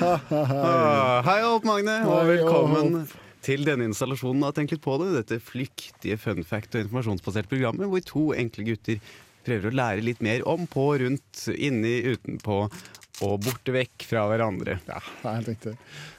Ah, Hei og hopp, Magne, og Hei og velkommen til denne installasjonen av Tenk litt på det. Dette flyktige fun fact- og informasjonsbaserte programmet hvor to enkle gutter prøver å lære litt mer om, på, rundt, inni, utenpå og borte vekk fra hverandre. Ja, det er helt riktig.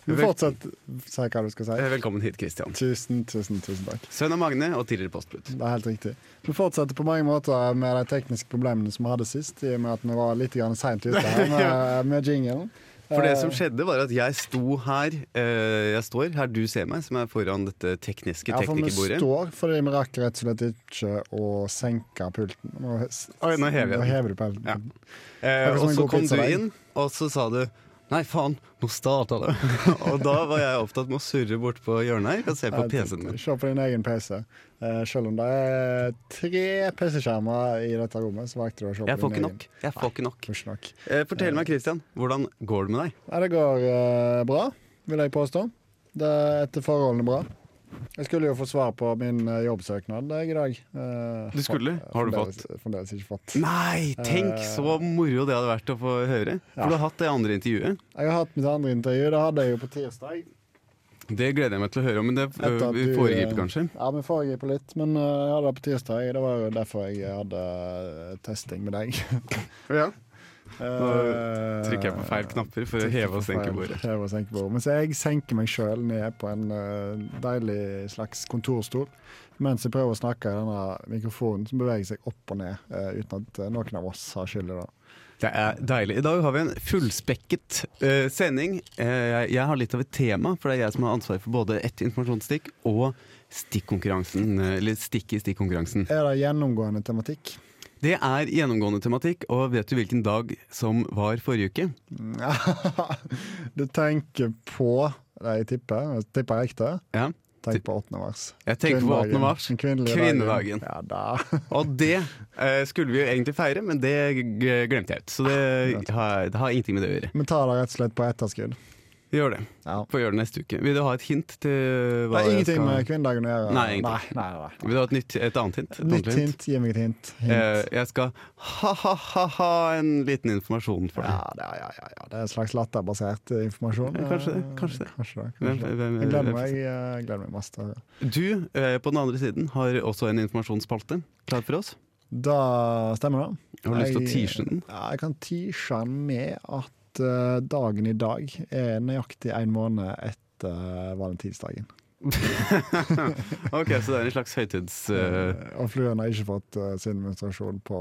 Men fortsett, si hva du skal si. Eh, Velkommen hit, Kristian. Tusen, tusen, tusen takk. Sønn av Magne og tidligere postbud. Det er helt riktig. Vi fortsetter på mange måter med de tekniske problemene som vi hadde sist, i og med at vi var litt grann seint ute her med, med jinglen. Eh. For det som skjedde, var at jeg sto her, eh, jeg står her du ser meg, som er foran dette tekniske Ja, for vi teknikerbordet. står fordi vi rakk rett og slett ikke å senke pulten. Nå, s- Oi, nå hever jeg den. nå hever du pulten. Ja. Eh, Akkurat som og en så god kom du pizzadeig. inn, og så sa du Nei, faen, nå starta det. og da var jeg opptatt med å surre bort på hjørnet her og se på Eh, PC-en min. Se på din egen PC. Eh, selv om det er tre PC-skjermer i dette rommet, så valgte du å se på Jeg får din ikke egen. nok. Jeg får ikke nok. Får ikke nok. Eh, fortell meg, Christian, hvordan går det med deg? Nei, det går eh, bra, vil jeg påstå. Det er etter forholdene bra. Jeg skulle jo få svar på min eh, jobbsøknad eh, i dag. Eh, Du skulle? for- Har du fremdeles- fått? Fremdeles ikke fått. Nei, tenk Eh. så moro det hadde vært å få høre. For du har hatt det andre intervjuet. Jeg har hatt mitt andre intervju. Det hadde jeg jo på tirsdag. Det gleder jeg meg til å høre om, men det Etter at øh, vi du, foregriper eh, kanskje. Ja, vi foregriper litt, men eh, jeg hadde det på tirsdag. Det var jo derfor jeg hadde eh, testing med deg. Ja. Eh, Trykker jeg på feil knapper for å trykker heve og på senke feil- bordet. Heve og senke bordet. Mens jeg senker meg sjøl ned på en eh, deilig slags kontorstol mens jeg prøver å snakke i denne mikrofonen som beveger seg opp og ned, eh, uten at eh, noen av oss har skyld i det. Det er deilig. I dag har vi en fullspekket eh, sending. Eh, jeg, jeg har litt av et tema, for det er jeg som har ansvar for både ett informasjonsstikk og stikkonkurransen. eh, Eller stikk i stikkonkurransen. Er det gjennomgående tematikk? Det er gjennomgående tematikk, og vet du hvilken dag som var forrige uke? du tenker på det jeg tipper. Jeg tipper riktig. Ja. Tenk på 8. mars. Jeg tenker på 8. mars, Den kvinnelige kvinnedagen. dagen. Ja da. Og det eh, skulle vi jo egentlig feire, men det g- glemte jeg ut. Så det har, det har ingenting med det å gjøre. Vi tar det rett og slett på etterskudd. Vi gjør det. Ja. Får gjøre det neste uke. Vil du ha et hint til Det hva er jeg ingenting skal med kvinnedagen å gjøre. Nei, ingenting. nei, nei, nei. Vil du ha et, nytt, et annet hint? Et Nytt ordentlig hint. Gi meg et hint. hint. Eh, jeg skal ha-ha-ha en liten informasjon for deg. Ja, det er, ja, ja, ja. det er en slags latterbasert eh, informasjon. Eh, Ja, kanskje det, kanskje det. Kanskje det, Hvem- kanskje det. hvem- Jeg gleder hvem- meg, eh, gleder meg masse til å høre. Du, eh, på den andre siden, har også en informasjonsspalte klar for oss. Da stemmer det. Har du lyst til å Jeg- tease den? Ja, jeg kan tease den med at eh, dagen i dag er nøyaktig en måned etter eh, valentinsdagen. Ok, Så det er en slags høytids... eh, Og fluen har ikke fått eh, sin menstruasjon på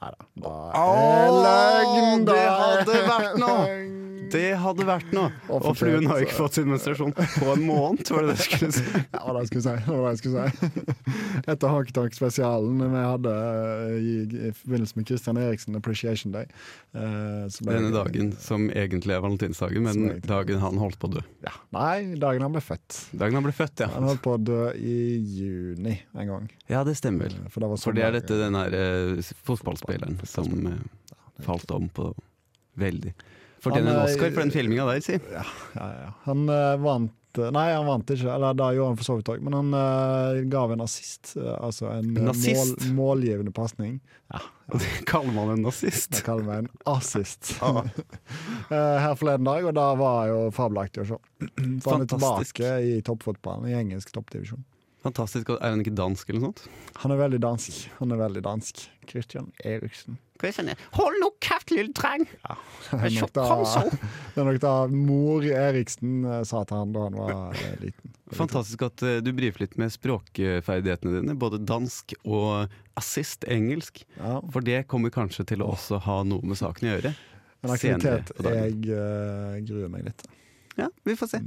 Nei da. Det er Åh, løgn! det er hadde vært noe. løgn. det hadde vært noe! Og Og fluen har jo fortjent, altså. ikke fått sin menstruasjon på en måned, var det det jeg skulle si. Ja, det var det jeg skulle si. Det var det jeg skulle si. Etter Honky-Tonk-spesialen vi hadde eh, i, i forbindelse med Christian Eriksen Appreciation Day. eh, så ble Denne det- dagen som egentlig er valentinsdagen, Som men egentlig- dagen han holdt på å dø. Ja, nei, dagen han ble født. Dagen han ble født, Han ja. holdt på å dø i juni en gang. Ja, det stemmer vel. eh, For det var For det er sommer- dette den her eh, fotballspilleren som eh, falt om på veldig Fortjener Han en er- Oscar for den filminga der, si. Ja, ja, ja. Han eh, vant eh, Nei, han vant ikke, eller det gjorde han for så vidt òg, men han eh, gav en assist. eh, altså en eh, Nazist? Mål, målgivende pasning. Og det kaller man en nazist. Det kaller vi en assist. Eh, her forleden dag, og da var jo fabelaktig å se. For han er Fantastisk. tilbake i toppfotballen, i engelsk toppdivisjon. Fantastisk. Er han ikke dansk eller noe sånt? Han er veldig dansk. Han er veldig dansk. Christian Eriksen. sånn Hold nå kjeft, lille treng! Det er nok da, det er nok da mor Eriksen eh, sa til han da han var eh, liten. Fantastisk at eh, du brifer litt med språkferdighetene dine. Både dansk og assist engelsk. Ja, For det kommer kanskje til å også ha noe med saken å gjøre. en senere aktivitet på dagen. jeg eh, gruer meg litt til. Ja, vi får se.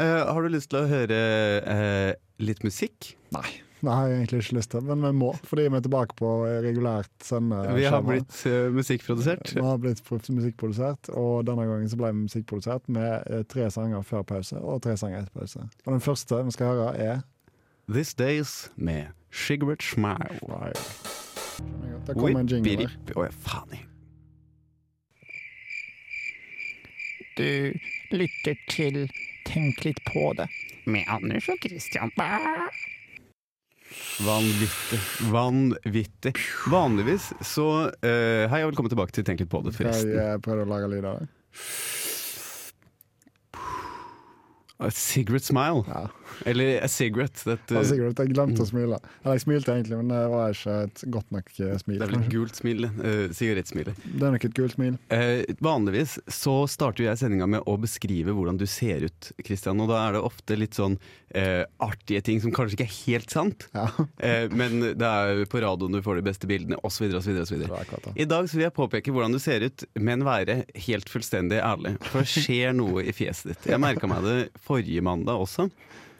Eh, har du lyst til å høre eh, litt musikk? Nei. Det har jeg egentlig ikke lyst til, men vi må, fordi vi er tilbake på regulært sendeskjema. Vi har blitt eh, musikkprodusert. Vi har blitt pro- musikkprodusert, og denne gangen så ble vi musikkprodusert med eh, tre sanger før pause og tre sanger etter pause. Og den første vi skal høre, er This Days med Sigurd Smile. Fire. Der kommer en jingle der. Whippirip. Å ja, faen i. Du lytter til Tenk litt på det. med Anders og Christian. Vanvittig. Vanvittig. Vanligvis så eh, Hei og velkommen tilbake til Tenk litt på det, Jeg forresten. eh, prøvde å lage lyd av det. A cigarette smile. Ja. Eller a cigarette. Dette, Det var det eh, sikkert at jeg glemte å smile. Eller jeg smilte egentlig, men det var ikke et godt nok eh, smil. er vel et kanskje. gult smil. eh, Sigarettsmilet. Det er nok et gult smil. Eh, vanligvis så starter jo jeg sendinga med å beskrive hvordan du ser ut, Christian. Og da er det ofte litt sånn eh, artige ting som kanskje ikke er helt sant, Ja, det eh, men det er jo på radioen du får de beste bildene, osv., osv. var akkurat det. I dag så vil jeg påpeke hvordan du ser ut, men være helt fullstendig ærlig. For det skjer noe i fjeset ditt. Jeg merka meg det forrige mandag også.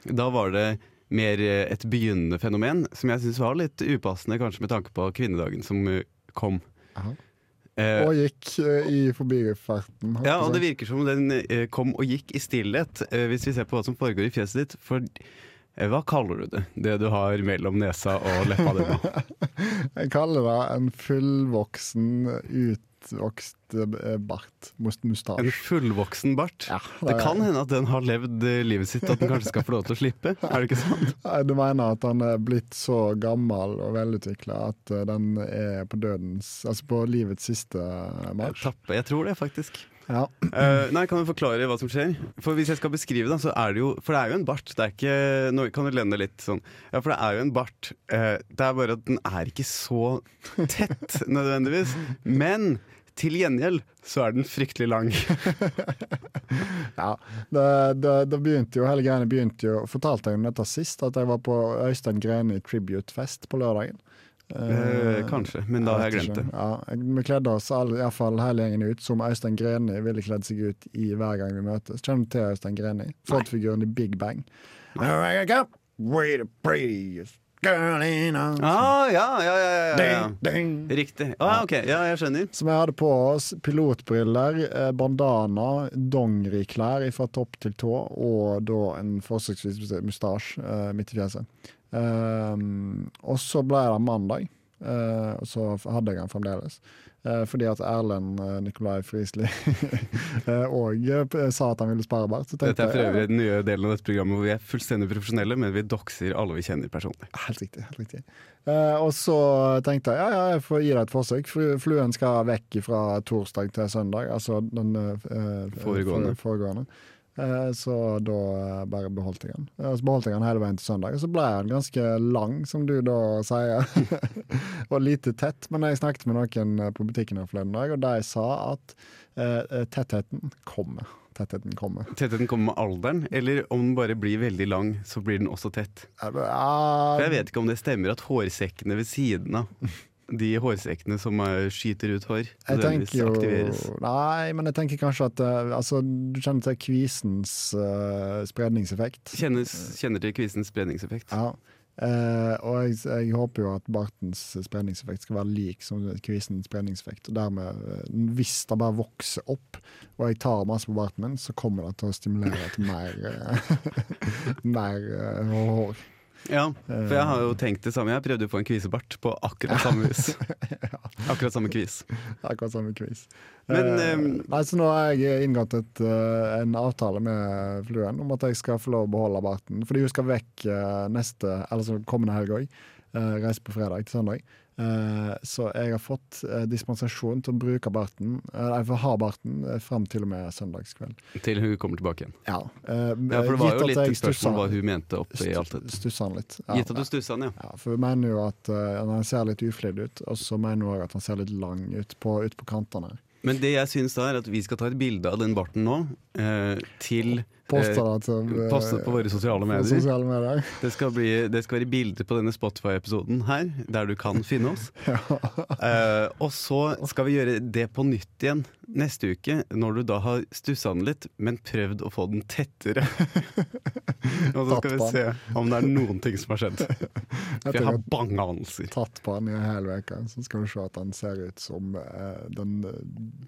Da var det mer eh, et begynnende fenomen, som jeg syns var litt upassende kanskje med tanke på kvinnedagen som eh, kom. Aha. Eh, Og gikk eh, i forbifarten. ja, og det virker som den eh, kom og gikk i stillhet, eh, hvis vi ser på hva som foregår i fjeset ditt. For eh, hva kaller du det? Det du har mellom nesa og leppa di nå? Jeg kaller det en fullvoksen, utvokst eh, bart. Must- En Mustasje. fullvoksen bart? Ja, Det kan hende at den har levd eh, livet sitt, at den kanskje skal få lov til å slippe. Er det ikke sant? Nei, Du mener at han er blitt så gammel og velutvikla at eh, den er på dødens Altså på livets siste eh, marsj? Tappe. Jeg tror det, faktisk. Ja. Eh, nei, Kan du forklare hva som skjer? For hvis jeg skal beskrive det, så er det jo For det er jo en bart. Det er ikke Nå kan du lene litt sånn. Ja, for det er jo en bart. Eh, det er bare at den er ikke så tett, nødvendigvis. Men til gjengjeld så er den fryktelig lang. ja. Det, det, det begynte jo, hele greiene begynte jo Fortalte jeg om dette sist, at jeg var på Øystein Greni tribute-fest på lørdagen. Eh, Eh, kanskje, men da har jeg vet glemt det. ikke. Ja, jeg- vi kledde oss alle, i hvert fall hele gjengen ut som Øystein Greni ville kledd seg ut i hver gang vi møtes. Kjenner du til Øystein Greni? Frontfiguren i Big Bang. Here I go, way to praise, girl in arms. Ah, ja, ja, ja, ja, ja, Ding, ja. ding. Riktig. Ah, ok, ja, jeg skjønner. Som jeg hadde på oss. Pilotbriller, eh, bandana, dongeriklær fra topp til tå, og da en forsøksvis mustasje eh, midt i fjeset. Ehm, og så ble det mandag, eh, og så f- hadde jeg den fremdeles. Eh, fordi at Erlend eh, Nikolai Friisli òg eh, sa at han ville spare bart. Så Dette tenkte er for jeg øvrig den nye delen av dette programmet hvor vi er fullstendig profesjonelle, men vi dokser alle vi kjenner personlig. Helt riktig. helt riktig. Eh, og så tenkte jeg ja, ja, jeg får gi deg et forsøk. Fru- Fluen skal vekk fra torsdag til søndag, altså den eh, eh, Foregående. for- foregående. Eh, så da eh, bare beholdt jeg den. Eh, og så beholdt jeg den hele veien til søndag. Og så ble den ganske lang, som du da sier. og lite tett. Men jeg snakket med noen eh, på butikken her forleden dag, og de sa at eh, eh, tettheten kommer. Tettheten kommer. Tettheten kommer med alderen, eller om den bare blir veldig lang, så blir den også tett. Eh, ah, For jeg vet ikke om det stemmer at hårsekkene ved siden av de hårsekkene som eh, skyter ut hår, Jeg nødvendigvis tenker jo aktiveres. Nei, men jeg tenker kanskje at eh, altså, Du kjenner til kvisens eh, spredningseffekt. Kjennes, kjenner til kvisens spredningseffekt. Ja. Eh, og jeg, jeg håper jo at bartens spredningseffekt skal være lik som kvisens spredningseffekt. Og dermed, eh, hvis det bare vokser opp, og jeg tar masse på barten min, så kommer det til å stimulere til mer, eh, mer eh, hår. Ja, for Eh. jeg har jo tenkt det samme. Jeg prøvde å få en kvisebart på akkurat samme vis. Akkurat samme kvis. Akkurat samme quiz. Men, Eh, ehm, nei, så nå har jeg inngått et, eh, en avtale med Fluen om at jeg skal få lov å beholde barten. Fordi hun skal vekk eh, neste, eller så kommende helg òg. Eh, reise på fredag til søndag. Eh, så jeg har fått eh, dispensasjon til å bruke barten, eh, jeg får ha barten eh, fram til og med søndagskveld. Til hun kommer tilbake igjen. Ja, eh, Ja, For det var gitt jo at litt jeg et spørsmål hva stusser- hun mente oppi alt dette. Stusser han litt. Gitt at du stussa den, ja. Ja, for vi mener jo at eh, han ser litt uflidd ut, og så mener hun òg at han ser litt lang ut på, ut på kantene. Men det jeg syns da, er at vi skal ta et bilde av den barten nå, eh, til Posta det til eh, sånn. Poste på våre sosiale på medier. sosiale medier. Det skal, bli, det skal være bilder på denne Spotify-episoden her, der du kan finne oss. Eh, og så skal vi gjøre det på nytt igjen neste uke, når du da har stussa den litt, men prøvd å få den tettere. og så skal vi se om det er noen ting som har skjedd. Jeg For jeg tenker har at bange anelser. tatt på han i en hel uke, så skal du se at han ser ut som eh, den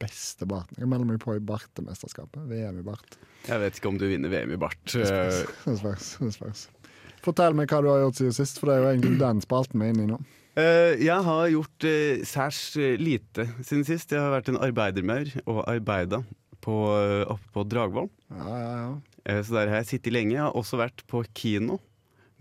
beste barten. Jeg melder meg på i bartemesterskapet. VM i bart. Jeg vet ikke om du vinner VM i bart. Det Eh, spørs. Det spørs. Det spørs. Fortell meg hva du har gjort siden sist, for det er jo egentlig den spalten vi er inne i nå. Eh, jeg har gjort eh, særs eh, lite siden sist. Jeg har vært en arbeidermaur og arbeida på, eh, oppe på Dragvoll. Ja, ja, ja. Eh, Så der har jeg sittet lenge. Jeg har også vært på kino.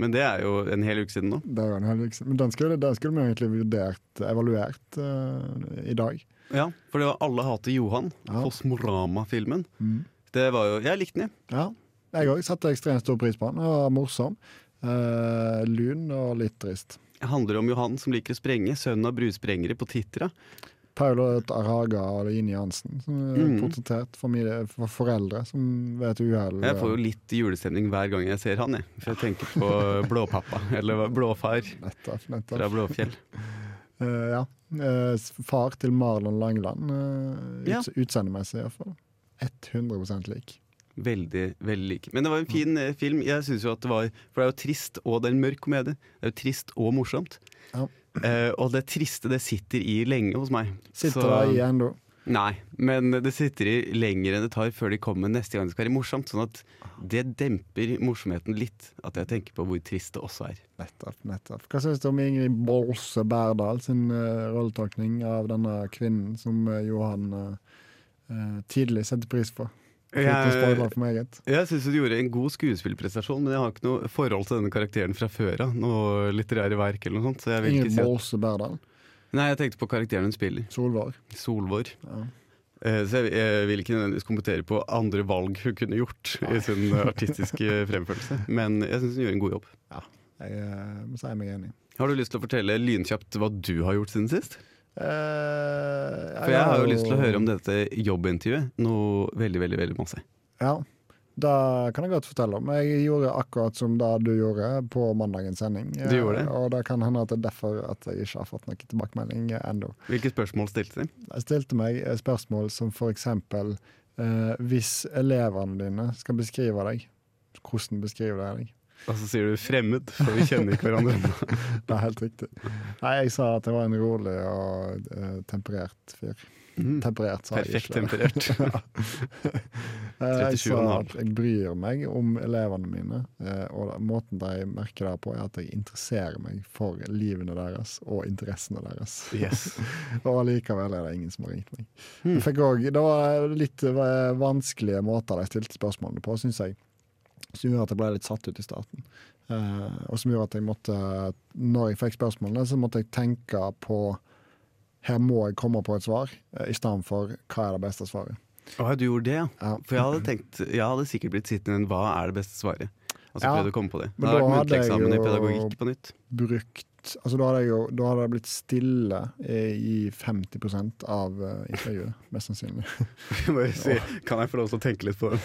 Men det er jo en hel uke siden nå. Det er jo en hel uke siden. Men den skulle, den skulle vi egentlig vurdert, evaluert eh, i dag. Ja, For det var 'Alle hater Johan', Ja. Kosmorama-filmen. Mm. Det var jo, Jeg likte den, jeg. Ja. Jeg òg satte ekstremt stor pris på den. Den var morsom, eh, lun og litt trist. Det handler om Johan som liker å sprenge, sønnen av brusprengere på Titra. Paulo Arhaga og Ine Jansen, som er Mm. portrettert for, mine, for foreldre som ved et uhell eh, Jeg får jo litt julestemning hver gang jeg ser han, jeg. For jeg tenker på blåpappa, eller hva- blåfar Nettopp. fra nettopp. Blåfjell. Eh, ja. Eh, s- far til Marlon Langeland, eh, Ja. ut, utseendemessig iallfall. 100 lik. Veldig, veldig like. Men det var en fin eh, film. Jeg synes jo at det var For det er jo trist, og det er en mørk komedie. Det er jo trist og morsomt. Ja. Eh, og det triste, det sitter i lenge hos meg. Så- Sitter der i ennå. Nei, men det sitter i lenger enn det tar før de kommer neste gang det skal være morsomt. Sånn at det demper morsomheten litt, at jeg tenker på hvor trist det også er. Nettopp, nettopp. Hva syns du om Ingrid Bolse Berdal sin uh, rolletolkning av denne kvinnen som eh, Johan eh, eh, tidlig setter pris på? Uten å spoile Jeg, for meget. jeg syns du gjorde en god skuespillprestasjon, men jeg har ikke noe forhold til denne karakteren fra før av. Noe litterære verk eller noe sånt. Så jeg vil ikke Ingrid si at Bolse Berdal. Nei, jeg tenkte på karakteren hun spiller. Solvår. Solvor. Ja. Eh, Så jeg, jeg vil ikke nødvendigvis kommentere på andre valg hun kunne gjort i sin eh, artistiske fremførelse, men jeg syns hun gjorde en god jobb. Jeg eh, må si meg enig. Har du lyst til å fortelle lynkjapt hva du har gjort siden sist? Eh, For jeg har jo lyst til å høre om dette jobbintervjuet noe veldig, veldig veldig masse. Ja, det kan jeg godt fortelle om. Jeg gjorde akkurat som det du gjorde på mandagens sending. eh, Du gjorde det? Og det kan hende at det er derfor at jeg ikke har fått noen tilbakemelding eh, ennå. Hvilke spørsmål stilte de? Jeg stilte meg eh, spørsmål som for eksempel eh, Hvis elevene dine skal beskrive deg, hvordan beskriver de deg? Og så sier du 'fremmed', for vi kjenner ikke hverandre. Det er helt riktig. Nei, jeg sa at jeg var en rolig og eh, temperert fyr. Mm. Temperert, sa Perfekt jeg ikke. temperert. Eh, jeg sa 37,5. at jeg bryr meg om elevene mine, eh, og da- måten de merker det på, er at jeg interesserer meg for livene deres og interessene deres. Yes. Og allikevel er det ingen som har ringt meg. Hmm. Jeg fikk også, det var litt eh, vanskelige måter de stilte spørsmålene på, syns jeg. Som gjorde at jeg ble litt satt ut i starten. Eh, og som gjorde at jeg måtte, når jeg fikk spørsmålene, så måtte jeg tenke på her må jeg komme på et svar, eh, i stedet for hva er det beste svaret. Å, ja, du gjorde det, ja. Ja. For jeg hadde tenkt, jeg hadde sikkert blitt sittende med 'hva er det beste svaret'? Og så Ja. prøvde du å komme på det. Men Da hadde da vært muntlig hadde jeg eksamen i jo- pedagogikk på nytt. Brukt Altså, da hadde, jeg jo, da hadde det blitt stille eh, i 50 av eh, intervjuet, mest sannsynlig. Jeg må jo si, kan jeg få lov til å tenke litt på det?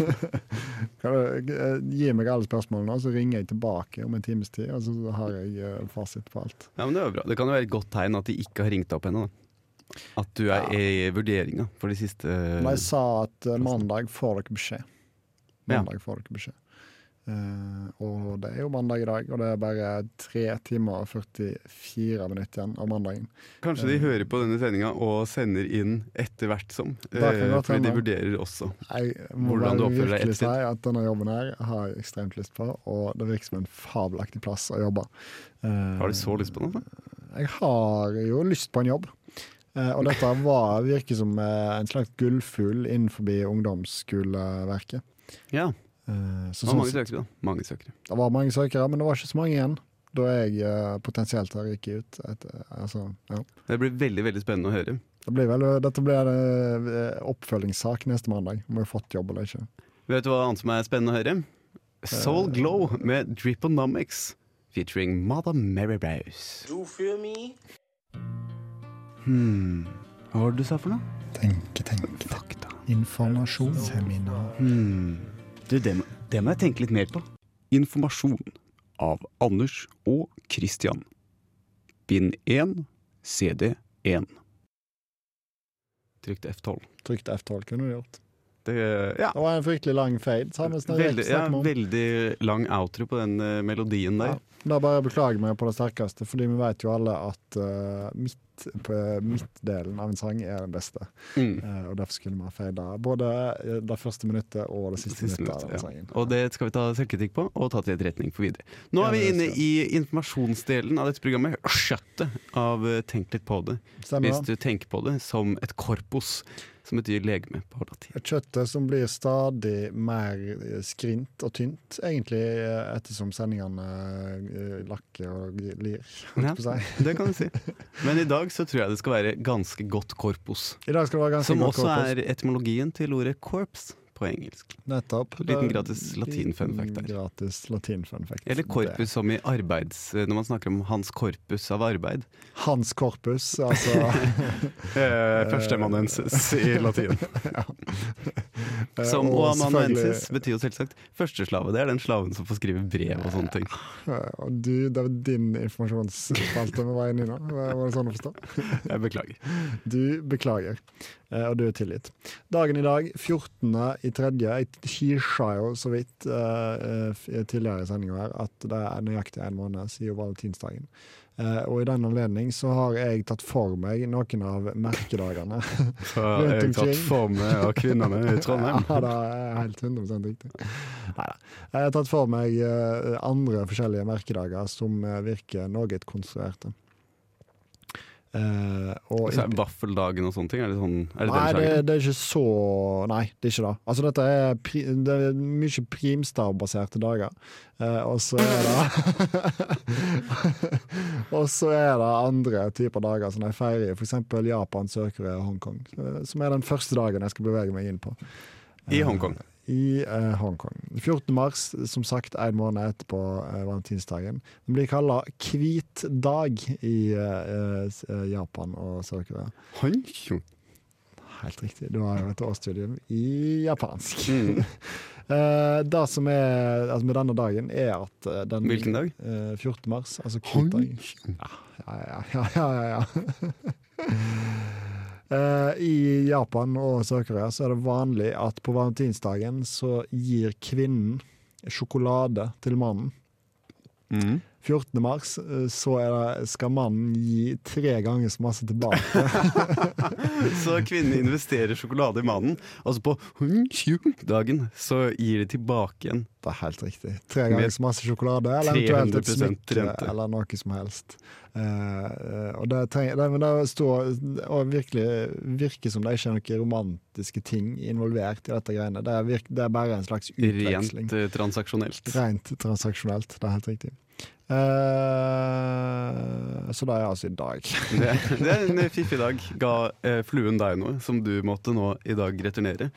Kan du eh, gi meg alle spørsmålene, nå, så ringer jeg tilbake om en times tid, og så har jeg eh, fasit på alt. Ja, men Det var bra. Det kan jo være et godt tegn at de ikke har ringt opp ennå. da. At du er i vurderinga for de siste eh, Men jeg sa at eh, mandag får dere beskjed. Ja. Mandag får dere beskjed. Eh, og det er jo mandag i dag, og det er bare 3 timer og 44 minutter igjen av mandagen. Kanskje de hører på denne sendinga og sender inn etter hvert som. Da kan det eh, godt Fordi de hende. vurderer også. Jeg må Hvordan du bare oppfører deg virkelig si ettertid. at denne jobben her har jeg ekstremt lyst på, og det virker som en fabelaktig plass å jobbe. Eh, Har du så lyst på noe? da? Jeg har jo lyst på en jobb. Eh, og dette var, virker som eh, en slags gullfugl innenfor ungdomsskoleverket. Ja. Eh, Det var så sånn mange sett- søkere, da. Mange søkere. det var mange søkere, men det var ikke så mange igjen da jeg eh, potensielt har ryket ut. Et, altså, ja. Det blir veldig veldig spennende å høre. det blir vel, dette blir en eh, oppfølgingssak neste mandag, om jeg har fått jobb eller ikke. Vet du hva annet som er spennende å høre? Soul Glow med Driponomics featuring Mother Mary Browse. Do you feel me? Hmm. Hva var det du sa for noe? Tenke, tenke. Fakta. Informasjon. Seminar. Hmm. Du, det, må- det må jeg tenke litt mer på. Informasjon av Anders og Christian. Bind 1, CD 1. Trykt F12. Trygt F12 kunne du gjort. Det, ja. Det var en fryktelig lang fade. sa vi snakket- Veldig, ja, snakket om. veldig lang outro på den eh, melodien der. Da bare beklager vi på det sterkeste, fordi vi vet jo alle at eh, midt, på midtdelen av en sang er den beste. Mm. Eh, og derfor skulle vi ha feida både eh, det første minuttet og det siste, Siste minuttet. minutt, av ja. den sangen. Og det skal vi ta selvkritikk på, og ta til etterretning for videre. Nå Ja, er vi det inne skal i informasjonsdelen av dette programmet. Skjøttet av eh, Tenk litt på det. Stemmer. Hvis du tenker på det som et korpus, som betyr legeme på latin. Kjøttet som blir stadig mer eh, skrint og tynt, egentlig eh, ettersom sendingene eh, lakker og lir. Ja, holdt på å si. det kan du si. Men i dag så tror jeg det skal være ganske godt korpus. I dag skal det være ganske Som godt også korpus. er etymologien til ordet corps på engelsk. Nettopp. Liten Det- gratis latin fun fact der. Liten Gratis latin fun fact. Eller Det- corpus som i arbeids... eh, Når man snakker om hans corpus av arbeid. Hans korpus, altså. Eh, Førsteamanuensis i latin. eh, Som og og selvfølgelig- amanuensis betyr jo selvsagt førsteslave. Det er den slaven som får skrive brev og sånne ting. Eh, Og du, det var din informasjonsspalte vi var inne i nå. Var det sånn å forstå? Jeg beklager. Du beklager, eh, og du er tilgitt. Dagen i dag, 14. i tredje, jeg skisja jo så vidt eh, f- tidligere i sendinga her at det er nøyaktig en måned siden valentinsdagen. Eh, og i den anledning så har jeg tatt for meg noen av merkedagene. Så Rundt jeg har omkring. tatt for meg av kvinnene i Trondheim. ja, det er helt 100 riktig. Neida. Jeg har tatt for meg eh, andre forskjellige merkedager som eh, virker noe konstruerte. Eh, og Så er Vaffeldagen og sånne ting? Er det, sånn, er det Nei, den det, sjangeren? det er ikke så Nei, det er ikke det. Altså, dette er, pri, det er mye primstavbaserte dager. Eh, og så er det Og så er det andre typer dager som de feirer, f.eks. Japan, Sør-Korea og Hongkong. eh, Som er den første dagen jeg skal bevege meg inn på. I Hongkong. I eh, Hongkong. 14. mars, som sagt en måned etterpå eh, valentinsdagen. Den blir kalla hvit dag i eh, s- eh, Japan og Sør-Korea. Hongkong. Helt riktig. Du har jo et årsstudium i japansk. Mm. Eh, det som er altså med denne dagen, er at eh, den Hvilken dag? Eh, 14. mars, altså kvitdag. Ja, ja, ja. ja, ja, ja. Eh, I Japan og Sør-Korea så er det vanlig at på valentinsdagen så gir kvinnen sjokolade til mannen. Mm. 14. mars eh, så er det, skal mannen gi tre ganger så masse tilbake. Så kvinnen investerer sjokolade i mannen, og så på Hongkong-dagen så gir de tilbake igjen. Det er helt riktig. Tre ganger Med så masse sjokolade, eller eventuelt et 300% smykke, rente. eller noe som helst. Eh, eh, og det, trenger, det, men det står, og virkelig virker som det ikke er noen romantiske ting involvert i dette greiene. Det er, virk, det er bare en slags utveksling. Rent eh, transaksjonelt. Rent transaksjonelt, det er helt riktig. Eh, så det er altså i dag. Det, det er en fiffig dag. Ga eh, fluen deg noe som du måtte nå i dag returnere?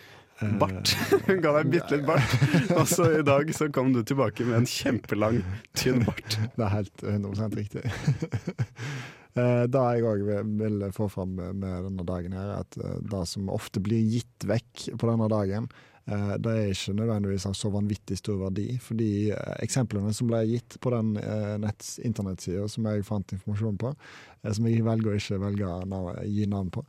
Bart. Hun ga deg bitte litt bart, og så i dag så kom du tilbake med en kjempelang, tynn bart. Det er helt 100 riktig. Eh, Det jeg òg vil vil få fram med denne dagen, her, er at eh, det som ofte blir gitt vekk på denne dagen, eh, det er ikke nødvendigvis av så vanvittig stor verdi. Fordi eh, eksemplene som ble gitt på den eh, netts- internettsida som jeg fant informasjon på, eh, som jeg velger å ikke velge å nav- gi navn på,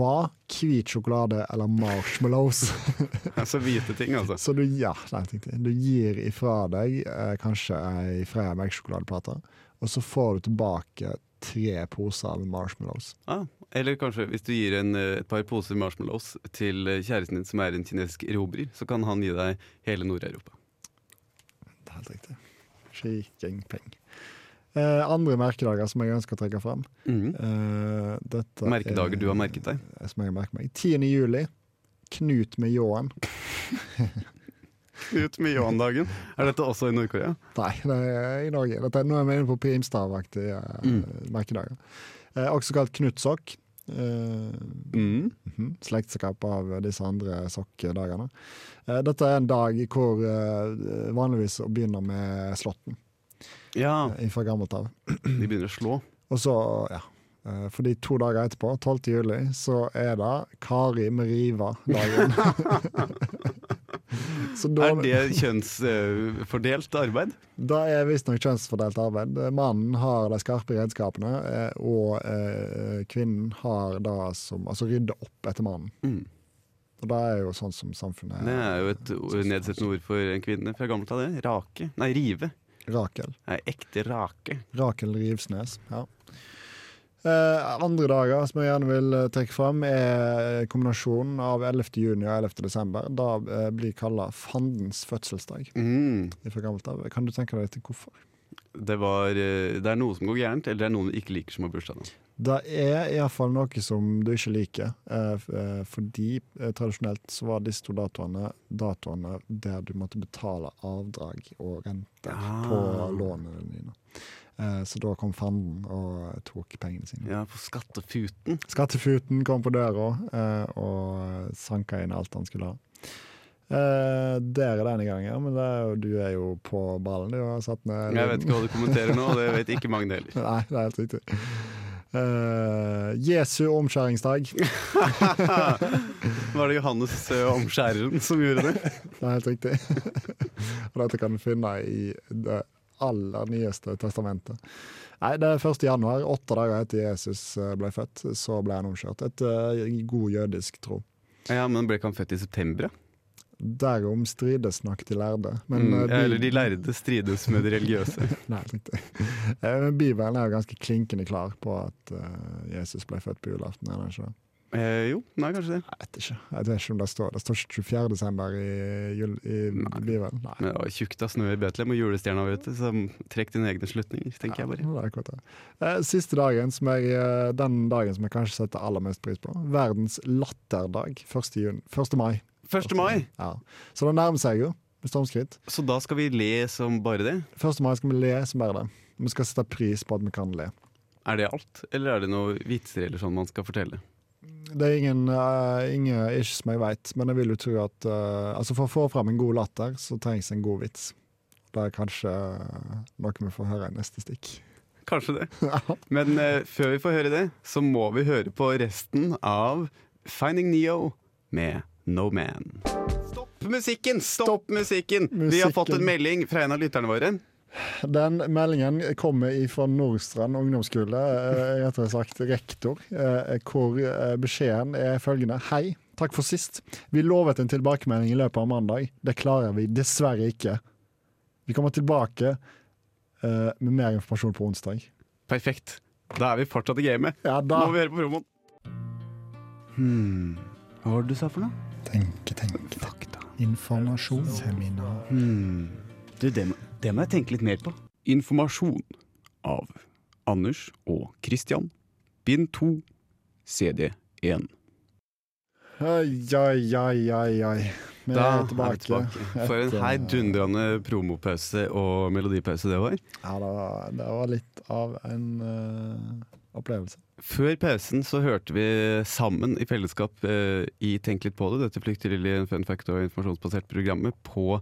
var hvit sjokolade eller marshmallows. Altså hvite ting, altså. Så du, ja, nei, tenkte jeg. du gir ifra deg eh, kanskje ei Freia melkesjokoladeplate, og så får du tilbake tre poser med marshmallows. Ah, eller kanskje hvis du gir en, eh, et par poser marshmallows til eh, kjæresten din som er en kinesisk erobrer, så kan han gi deg hele Nord-Europa. Det er helt riktig. Skiking peng. Eh, andre merkedager som jeg ønsker å trekke fram. Eh, dette Merkedager du har merket deg. Eh, Som jeg har merket meg. 10. juli. Knut med ljåen. Ut med Johan-dagen. Er dette også i Nord-Korea? Nei, det er i Norge. Dette, er- nå er vi inne på primstavaktige eh, Mm. merkedager. Eh, også kalt knutsokk. Eh, Mm. Mhm. Slektskap av disse andre sokkedagene. Eh, Dette er en dag hvor eh, vanligvis å begynner med Slåtten Ja, eh, fra gammelt av. de begynner å slå. Og så, ja. eh, Fordi to dager etterpå, 12. juli, så er det Kari med riva-dagen. så da, Er det kjønnsfordelt arbeid? da er visstnok kjønnsfordelt arbeid. Mannen har de skarpe redskapene, eh, og eh, kvinnen har det som Altså rydder opp etter mannen. Mm. Og det er jo sånn som samfunnet Det er jo et o- nedsettende ord for en kvinne fra gammelt av, det. Rake. Nei, rive. Rakel. Nei, ekte rake. Rakel Rivsnes. Ja. Eh, andre dager som jeg gjerne vil eh, trekke fram, er kombinasjonen av 11. juni og 11. desember. Da eh, blir kalla fandens fødselsdag. Mm. Fra gammelt av. Kan du tenke deg til hvorfor? Det, var, eh, det er noe som går gærent, eller det er noen du ikke liker som har bursdag nå. Det er iallfall noe som du ikke liker, eh, f- eh, fordi eh, tradisjonelt så var disse to datoene datoene der du måtte betale avdrag og renter på Ah. lånene dine. Eh, så da kom fanden og tok pengene sine. Ja, på skattefuten. Skattefuten kom på døra eh, og sanka inn alt han skulle ha. Eh, der er denne gangen, men det er jo, du er jo på ballen. Du har satt ned Jeg vet ikke hva du kommenterer nå, og det vet ikke Magne heller. Nei, det er helt riktig. Eh, Jesu omskjæringsdag. Det Var det Johannes eh, Omskjæreren som gjorde det? er helt riktig. og dette kan du finne i det aller nyeste testamentet. Nei, Det er 1. januar, åtte dager etter Jesus eh, ble født, så ble han omskjært. Etter god jødisk tro. Ja, men ble ikke han født i september, da? Derom strides nok de lærde. Men Mm, eh, eller de lærde strides med de religiøse. Nei, helt riktig. Eh, Men Bibelen er jo ganske klinkende klar på at eh, Jesus ble født på julaften. Er den ikke det? Eh, jo, nei, kanskje det. Jeg vet ikke. Jeg vet ikke om det står Det står ikke 24. desember i, jul, i Nei. Bibelen. Nei. Men det var tjukt av snø i Betlehem og julestjerna var ute, så trekk dine egne slutninger, tenker jeg Ja, bare. det er akkurat det. Eh, Siste dagen, som jeg, eh, den dagen som jeg kanskje setter aller mest pris på. Verdens latterdag. 1. Jun, 1. mai. 1. mai! Ja. Så det nærmer seg jo med stormskritt. Så da skal vi le som bare det? 1. mai skal vi le som bare det. Vi skal sette pris på at vi kan le. Er det alt, eller er det noe vitser eller sånn man skal fortelle? Det er ingen, eh, ingen ikke som jeg veit, men jeg vil jo tro at eh, altså for å få fram en god latter, så trengs en god vits. Det er kanskje eh, noe vi får høre i neste stikk. Kanskje det. Men eh, før vi får høre det, så må vi høre på resten av Finding Neo med No Man. Stopp musikken! Stopp, musikken! Vi har musikken. fått en melding fra en av lytterne våre. Den meldingen kommer fra Nordstrand ungdomsskole, eh, rettere sagt rektor, eh, hvor eh, beskjeden er følgende. Hei, takk for sist. Vi lovet en tilbakemelding i løpet av mandag. Det klarer vi dessverre ikke. Vi kommer tilbake eh, med mer informasjon på onsdag. Perfekt. Da er vi fortsatt i gamet. Ja Nå da. må vi høre på promoen. Hmm. Hva var det du sa for noe? Tenke, tenke. Fakta. Informasjon. Seminar. Hmm. Du, det, må- det må jeg tenke litt mer på. Informasjon av Anders og Christian. Bind 2, CD 1. Oi, oi, oi, oi, oi. Vi er tilbake. For en Etter- heidundrende promopause og melodipause det var. Ja, det var, det var litt av en eh, opplevelse. Før pausen så hørte vi sammen i fellesskap eh, i Tenk litt på det, dette flyktelige fun fact og informasjonsbasert programmet, på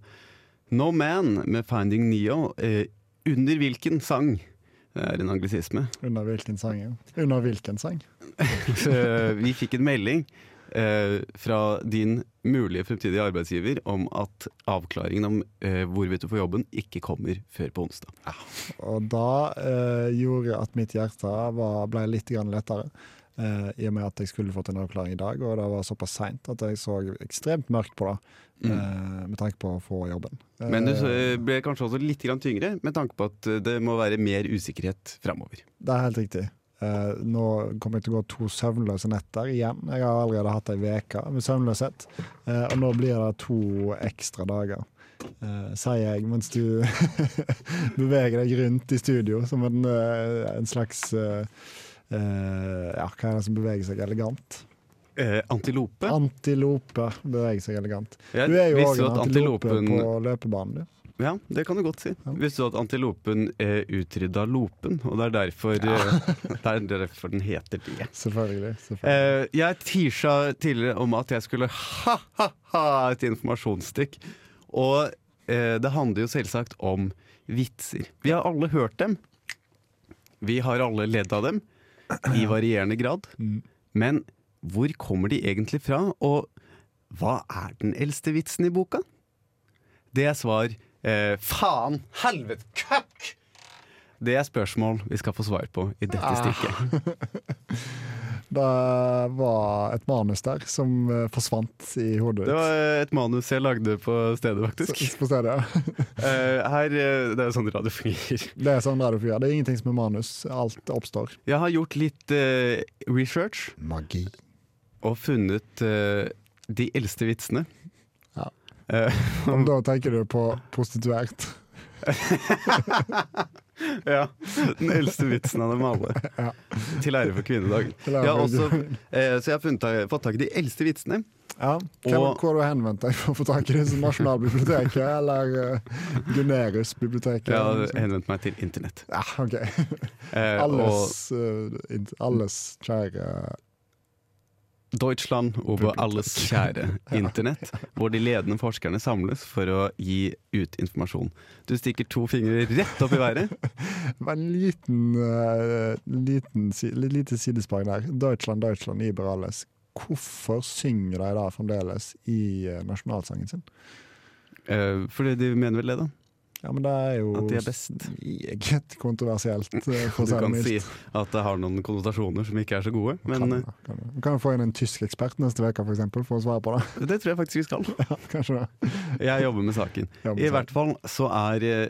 No Man med Finding Neo, eh, under hvilken sang? Det er en anglisisme. Under hvilken sang? ja. Under hvilken sang? Eh, vi fikk en melding eh, fra din mulige fremtidige arbeidsgiver om at avklaringen om eh, hvorvidt du får jobben, ikke kommer før på onsdag. Og da eh, gjorde at mitt hjerte var, ble litt grann lettere. eh, I og med at jeg skulle fått en avklaring i dag, og det var såpass seint at jeg så ekstremt mørkt på det. eh, med tanke på å få jobben. Eh, Men du eh, ble kanskje også litt grann tyngre, med tanke på at eh, det må være mer usikkerhet framover. Det er helt riktig. Eh, nå kommer jeg til å gå to søvnløse netter igjen. Jeg har allerede hatt ei uke med søvnløshet. Eh, og nå blir det to ekstra dager, eh, sier jeg mens du beveger deg rundt i studio som en, eh, en slags eh, eh, Ja, hva er det som beveger seg elegant? Eh, antilope. Antilope beveger seg elegant. Jeg Du er jo òg visste en at antilope antilopen på løpebanen, du. Ja, det kan du godt si. Ja. Visste du at antilopen eh, utrydda lopen, og det er derfor, eh, det er derfor den heter det. Selvfølgelig. selvfølgelig. Eh, jeg teasa tidligere om at jeg skulle ha-ha-ha et informasjonsstikk. Og eh, det handler jo selvsagt om vitser. Vi har alle hørt dem. Vi har alle ledd av dem, i varierende grad. Mm. Men hvor kommer de egentlig fra, og hva er den eldste vitsen i boka? Det er svar eh, faen, helvete, køkk! Det er spørsmål vi skal få svar på i dette stikket. Det var et manus der som eh, forsvant i hodet Det ditt. var eh, et manus jeg lagde på stedet, faktisk. Så- på stedet. Eh, her, eh, Det er jo sånn radio fungerer. Det er sånn radio fungerer. Det er ingenting som er manus. Alt oppstår. Jeg har gjort litt eh, research Magi. og funnet eh, de eldste vitsene. Ja. Eh, Om da tenker du på prostituert. ja. Den eldste vitsen av dem alle. Til ære for kvinnedagen. Til ære Jeg har for også, eh, så jeg har funnet, tak- fått tak i de eldste vitsene. Ja. Hvem, Og- Hvor har du henvendt deg for å få tak i det? Som Nasjonalbiblioteket eller uh, Gunerius-biblioteket? Jeg har eller noe sånt? henvendt meg til internett. ja, ok. Eh, og Alles, eh, int- alles kjære Deutschland over alles kjære internett, hvor de ledende forskerne samles for å gi ut informasjon. Du stikker to fingre rett opp i været. Det var en liten, eh, liten si, li- lite sidespark der. Deutschland, Deutschland, Iber alles. Hvorfor synger de da fremdeles i eh, nasjonalsangen sin? Eh, fordi de mener vel det, da? Ja, men det er jo At de er best. Meget kontroversielt. eh, For å Du si det kan mildt. si at det har noen konnotasjoner som ikke er så gode, Kan, men eh, det, kan, det. Vi kan jo få inn en tysk ekspert neste uke for, eksempel, for å svare på det. eh, det tror jeg faktisk vi skal. Ja, kanskje det. Jeg jobber med saken. Ja, men I så- hvert fall så er eh,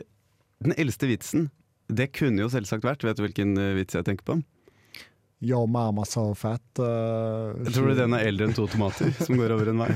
den eldste vitsen Det kunne jo selvsagt vært Vet du hvilken eh, vits jeg tenker på? Your mama so fat. eh, Jeg tror she- den er eldre enn to tomater som går over en vei.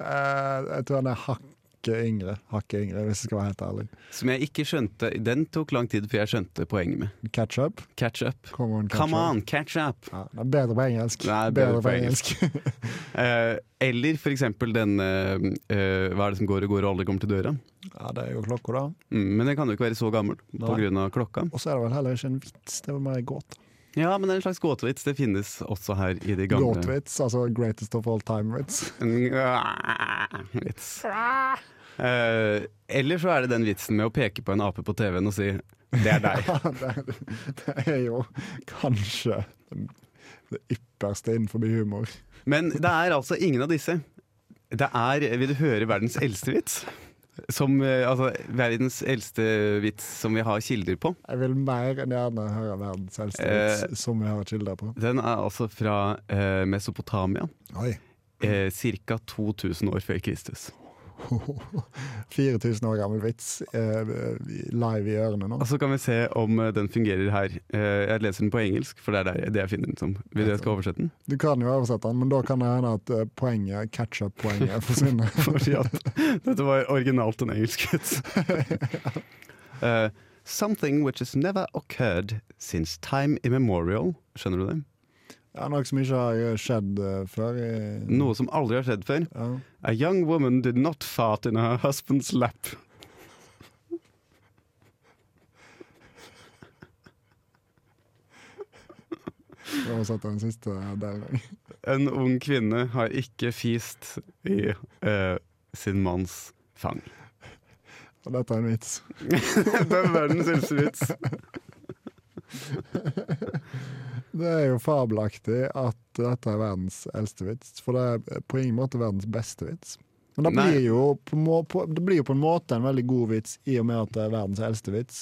Eh, jeg tror den er hakket yngre, hakket yngre, hvis jeg skal være helt ærlig. Som jeg ikke skjønte Den tok lang tid før jeg skjønte poenget med. Ketchup? Catch up. Come on, ketchup. Come on, catch up! Ja, det er bedre på engelsk. Det er bedre på Eh, eller for eksempel den eh, eh, Hva er det som går og går og aldri kommer til døra? Ja, det er jo klokka, da. Mm, men den kan jo ikke være så gammel Nei. pga. klokka. Og så er det vel heller ikke en vits, det er vel mer en gåte. Ja, men det er en slags gåtevits. Det finnes også her i de gamle Gåtevits, altså greatest of all time-vits. Ah, Vits. Eh, eller så er det den vitsen med å peke på en ape på TV-en og si 'det er deg'. Ja, det, er- det er jo kanskje den- det ypperste innenfor humor. Men det er altså ingen av disse. Det er, vil du høre, verdens eldste vits. Som, eh, altså, verdens eldste vits som vi har kilder på. Jeg vil mer enn gjerne høre verdens eldste vits, som vi har kilder på. Den er altså fra eh, Mesopotamia. Oi. Eh, Ca. 2000 år før Kristus. 4000 år gammel vits eh, live i ørene nå. Og så kan vi se om eh, den fungerer her. Eh, Jeg leser den på engelsk, for det er der, det jeg finner den som. Vil du jeg skal oversette den? Du kan jo oversette den, men da kan det hende at eh, poenget, catch-up-poenget forsvinner. Fordi at dette var originalt en engelsk vits. Eh, something which has never occurred since time immemorial. Skjønner du det? Ja, noe som ikke har skjedd eh, før. I, Noe som aldri har skjedd før. Ja. A young woman did not fart in her husband's lap. Jeg har satt den siste der òg. En ung kvinne har ikke fist i eh, sin manns fang. Og dette er en vits. det er verdens eldste vits. Det er jo fabelaktig at dette er verdens eldste vits, for det er på ingen måte verdens beste vits. Men det Nei. blir, jo på, må- på, det blir jo på en måte en veldig god vits i og med at det er verdens eldste vits,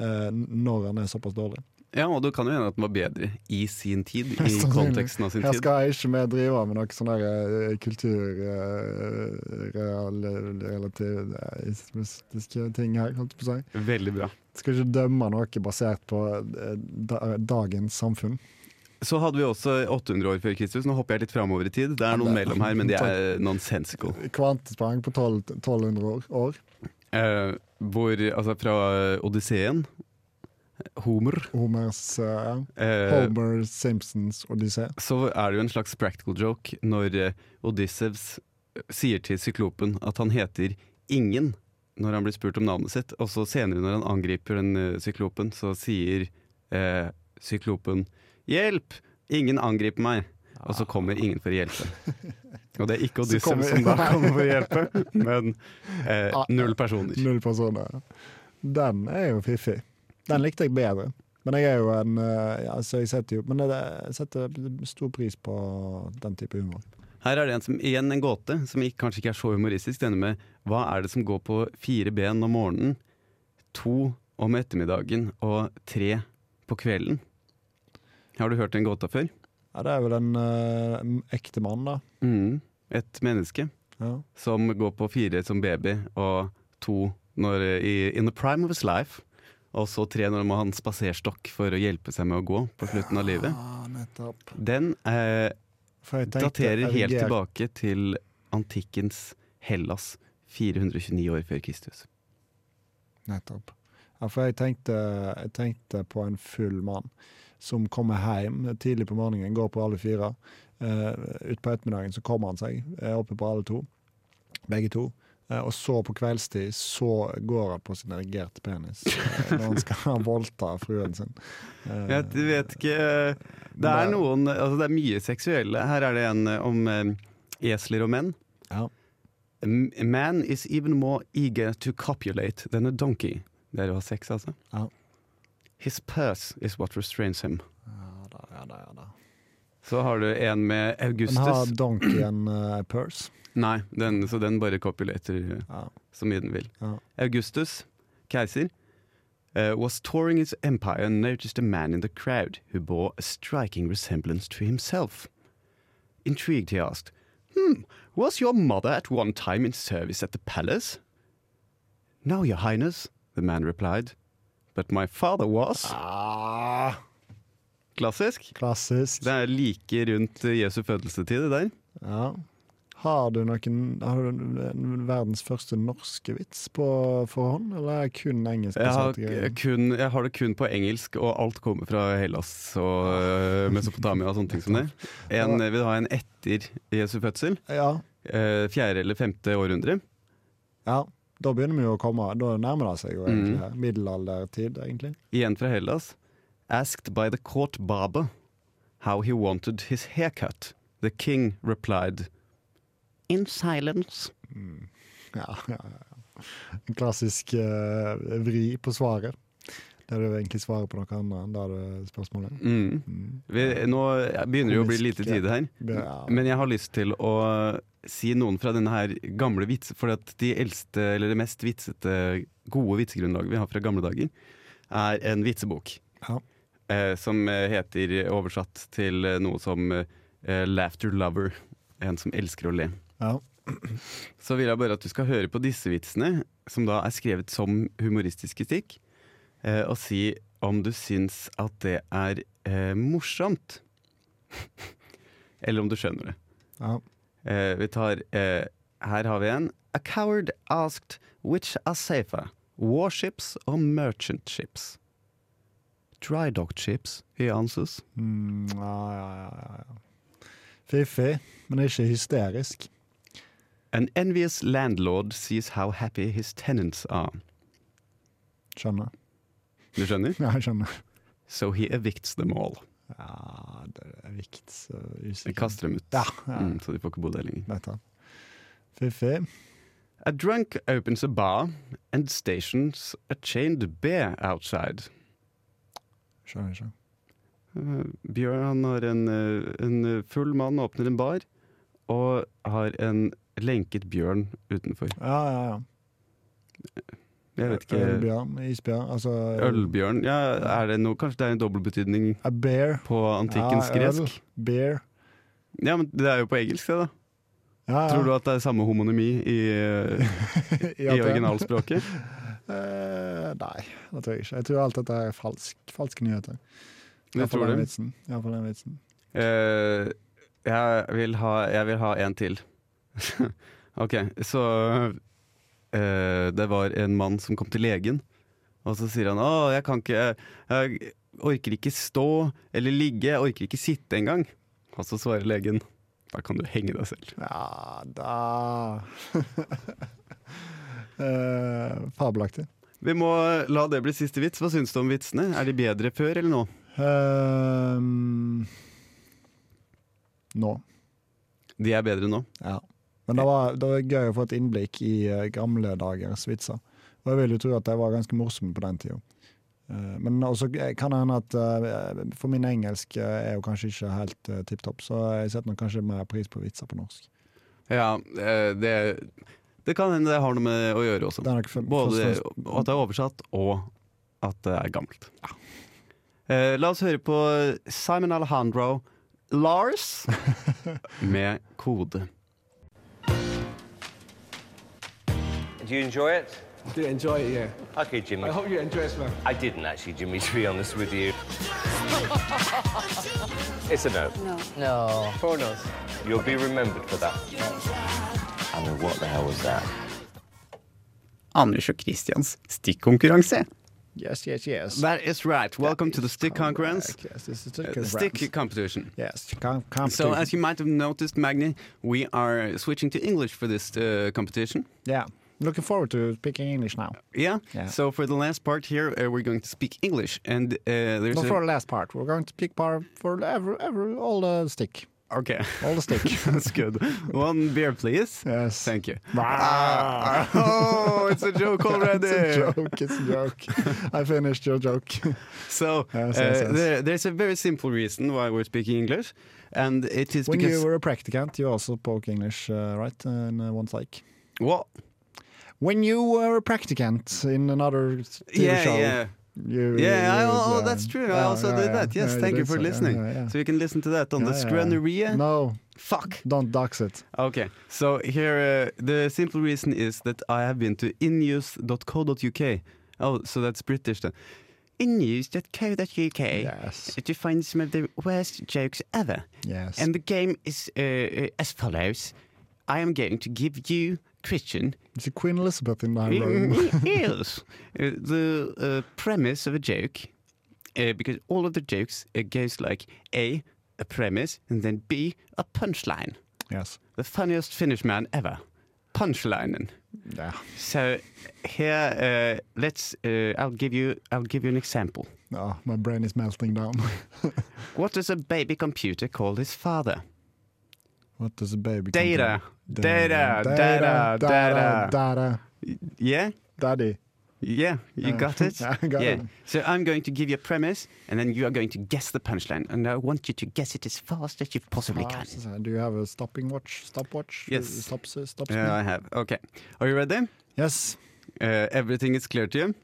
eh, n- når den er såpass dårlig. Ja, og det kan jo hende at den var bedre i sin tid, i Sannsynlig. konteksten av sin Her tid. skal jeg ikke vi drive med noe sånn der eh, kulturrelativistiske eh, ting her, holdt jeg på å si. Veldig bra. Skal ikke dømme noe basert på eh, da- dagens samfunn. Så hadde vi også 800 år før Kristus. Nå hopper jeg litt framover i tid. Det er noen mellom her, men de er nonsensical. Kvantesprang på 12, 1200 år. år. Eh, hvor, altså fra Odysseen Homer. Homers, eh, ja. Eh, Homer Simpsons odyssé. så er det jo en slags practical joke når eh, Odyssevs sier til syklopen at han heter Ingen når han blir spurt om navnet sitt, og så senere når han angriper den eh, syklopen, så sier eh, syklopen 'Hjelp! Ingen angriper meg!' Og så kommer ingen for å hjelpe. Og det er ikke Så Odyssev kommer- som da kommer for å hjelpe, men eh, null personer. Null personer. Den er jo fiffig. Den likte jeg bedre. Men jeg er jo en eh, ja, så jeg setter jo Men det- jeg setter stor pris på den type humor. Her er det en som, igjen en gåte, som ikke, kanskje ikke er så humoristisk. Denne med hva er det som går på fire ben om morgenen, to om ettermiddagen og tre på kvelden? Har du hørt den gåta før? Ja, det er vel en eh, ekte mann, da. Mm. Et menneske Ja. som går på fire som baby, og to når, i, in the prime of his life. Og så tre når han må ha en spaserstokk for å hjelpe seg med å gå på slutten av livet. Ah, nettopp. Den eh, For jeg tenkte daterer helt erigert- tilbake til antikkens Hellas, 429 år før Kristus. Nettopp. Ja, for jeg tenkte, jeg tenkte på en full mann som kommer hjem tidlig på morgenen, går på alle fire. Uh, Utpå ettermiddagen så kommer han seg, er oppe på alle to, begge to. Eh, og så på kveldstid så går han på sin erigerte penis eh, når han skal voldta fruen sin. Eh, Jeg vet- vet ikke eh, Det men er noen Altså, det er mye seksuelle. Her er det en eh, om eh, esler og menn. Ja. A Man is even more eager to copulate than a donkey. Det er å ha sex, altså. Ja. His purse is what restrains him. Ja da, ja da, ja da. Så har du en med Augustus. Men har donkeyen eh, purse? Nei, den, så den bare copulater eh, Ja. så mye den vil. Ja. Augustus, keiser, eh, was touring his empire and noticed a man in the crowd who bore a striking resemblance to himself. Intrigued, he asked, Hmm, was your mother at one time in service at the palace? No, your highness, the man replied. But my father was. Ah, Klassisk. klassisk. Det er like rundt eh, Jesu fødelsestid, det der. Ja. Har du noen har du en- en verdens første norske vits på forhånd, eller er det kun engelsk? Jeg har, baserte greier? kun, jeg har det kun på engelsk, og alt kommer fra Hellas og eh, Mesopotamia og sånne ting som det. En, eh, vil ha en etter Jesu fødsel. ja, eh, Fjerde eller femte århundre. ja. Da begynner vi jo å komme, da nærmer det seg Mm. jo egentlig her. middelaldertid, egentlig. Igjen fra Hellas. Asked by the court barber how he wanted his haircut. The king replied In silence. Ja, ja, ja. En klassisk eh, vri på svaret. Der du egentlig svarer på noe annet enn det du spørsmålet. Mm. Mm. Vi, nå begynner det jo å bli lite tid her. Ja. Men jeg har lyst til å si noen fra denne her gamle vitsen, for at de eldste, eller det mest vitsete, gode vitsegrunnlaget vi har fra gamle dager, er en vitsebok. Ja. Eh, som eh, heter, oversatt til eh, noe som eh, Laughter Lover. En som elsker å le. Ja. Så vil jeg bare at du skal høre på disse vitsene, som da er skrevet som humoristisk kritikk, eh, og si om du syns at det er eh, morsomt. eller om du skjønner det. Ja. Eh, vi tar eh, Her har vi en. A coward asked which are safer, warships or merchant ships? Dry dog ships, he answers. Mm, ja, ja, ja, ja, ja. Fiffig, men ikke hysterisk. An envious landlord sees how happy his tenants are. Skjønner. Du skjønner? Ja, jeg skjønner. So he evicts them all. Ja, det er viktig. Vi kaster dem ut, Ja, ja. mm, så de får ikke bo der lenger. Dette. Fiffig. A drunk opens a bar and stations a chained bear outside. Skjønner ikke. Eh, Bjørn han har en, eh, en eh, full mann åpner en bar og har en lenket bjørn utenfor. Ja, ja, ja. Jeg vet ikke Ølbjørn, isbjørn, altså Ølbjørn? Ja, er det noe? Kanskje det er en dobbeltbetydning A bear. på antikkens Ja, øl, gresk? Beer. Ja, men det er jo på engelsk, det, da. Ja, ja. Tror du at det er samme homonemi i, eh, I i at det- originalspråket? Eh, nei, det tror jeg ikke. Jeg tror alt dette er falsk, falske nyheter. Jeg Iallfall tror den det. vitsen. Iallfall den vitsen. Eh, jeg, vil ha, jeg vil ha en til. ok, så eh, Det var en mann som kom til legen, og så sier han Å, jeg kan ikke Jeg orker ikke stå eller ligge, jeg orker ikke sitte engang. Og så svarer legen Da kan du henge deg selv. Ja da Eh, Fabelaktig. Vi må la det bli siste vits. Hva syns du om vitsene? Er de bedre før eller nå? Ehm, nå. De er bedre nå. Ja. Men det var, det var gøy å få et innblikk i eh, gamle dagers vitser. Og jeg vil jo tro at de var ganske morsomme på den tida. Eh, Men også kan det hende at eh, For min engelsk eh, er jo kanskje ikke helt uh, tipp topp, så jeg setter nok kanskje mer pris på vitser på norsk. Ja, eh, det, det kan hende det har noe med å gjøre også. Det er nok for, Både først og fremst- at det er oversatt, og at det er gammelt. Eh, la oss høre på Simon Alejandro Lars med kode. Do you enjoy it? do enjoy it, yeah. Okay, I Jimmy. hope you enjoy it, man. I didn't actually, Jimmy, to be honest with you. it's a no. No. Pornos. You'll be remembered for that. I mean, what the hell was that? Anders og Christians stikkonkurranse. Yes, yes, yes. That is right. Welcome to the stick conference. Correct, Yes, this is stick Uh, conference. stick competition. Yes, com- competition. So, as you might have noticed, Magni, we are switching to English for this uh, competition. yeah. Looking forward to speaking English now. Yeah? Yeah. So, for the last part here, uh, we're going to speak English. And uh, there's Not a- for the last part. We're going to pick part for every, every, all the stick. Okay. All the stick. That's good. One beer, please. Yes. Thank you. Ah, Oh, it's a joke already. it's a joke. It's a joke. I finished your joke. So Yes, uh, yes, yes. there- there's a very simple reason why we're speaking English, and it is when because you were a practicant, you also spoke English, uh, right? In uh, one psych. well, When you were a practicant in another s- TV yeah, show. yeah, You, yeah. I, you- oh, yeah. that's true. I Yeah, also yeah, did yeah. that. Yes, Yeah, thank you did for so. Yeah, listening. yeah, yeah. So you can listen to that on the Yeah, yeah. Scraneria. No, Fuck. don't dox it. Okay, so here uh, the simple reason is that I have been to innews.co.uk. Oh, so that's British then. Innews.co.uk. Yes. To find some of the worst jokes ever. Yes. And the game is uh, uh, as follows. I am going to give you, Christian, It's a Queen Elizabeth in the high room. eels, uh, the uh, premise of a joke, uh, because all of the jokes uh, goes like A, a premise, and then B, a punchline. Yes. The funniest Finnish man ever. Punchlinen. Yeah. So here, uh, let's. Uh, I'll give you. I'll give you an example. Oh, my brain is melting down. What does a baby computer call his father? what does a baby Data. computer- Data. Data. data, Data. data. Yeah. Daddy. Yeah, you Yeah. got it. I got yeah. it. So I'm going to give you a premise, and then you are going to guess the punchline, and I want you to guess it as fast as you possibly can. Ah, Do you have a stopping watch? Stopwatch? Yes. Stop, stop Yeah, I have. Okay. Are you ready? Yes. Uh, everything is clear to you.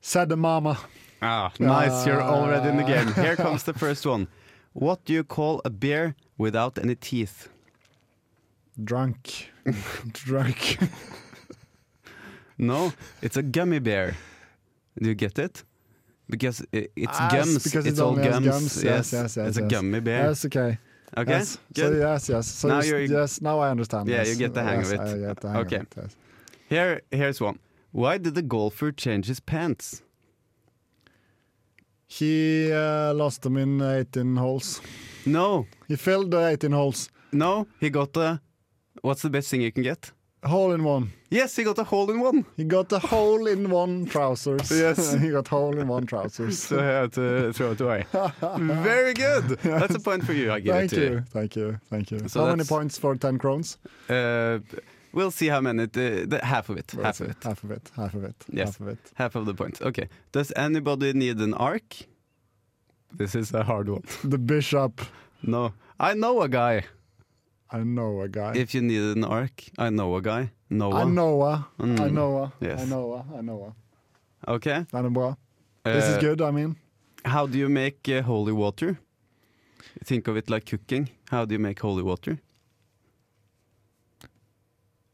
Said the mama. Ah, nice. You're already in the game. Ah. Here comes the first one. What do you call a bear without any teeth? Drunk. Drunk. No, it's a gummy bear. Do you get it? Because i- it's Ah, gums. Because it's it all only has gums. Yes, yes, yes. It's yes. a gummy bear. Yes, okay. Okay. Yes. So, Good. yes, yes. So Now now you're- yes, now I understand. Yeah, yes. you get the hang of Yes, it. I get the hang Okay. of it. Yes. Here, here's one. Why did the golfer change his pants? He uh, lost them in 18 holes. No, He filled the 18 holes. no, he got a. What's the best thing you can get? Hole in one. Yes, he got a hole in one. He got the hole in one trousers. Yes. he got hole in one trousers. So I had to throw it away. Very good. That's a point for you. I give Thank it to you, thank you, thank you. So how many that's- points for 10 krones? you. Uh, we'll see how many. The, the, half of it. Half of it. Half of it, half of it, Yes. half of it. Half of the point. Okay. Does anybody need an arc? This is a hard one. The bishop. No. I know a guy. I know a guy. If you need an arc, I know a guy. Noah. I know a. I Mm. know a. I Yes. know a. I know Okay. a. Den er bra. This is Uh, good, I mean. How do you make uh, holy water? Think of it like cooking. How do you make holy water?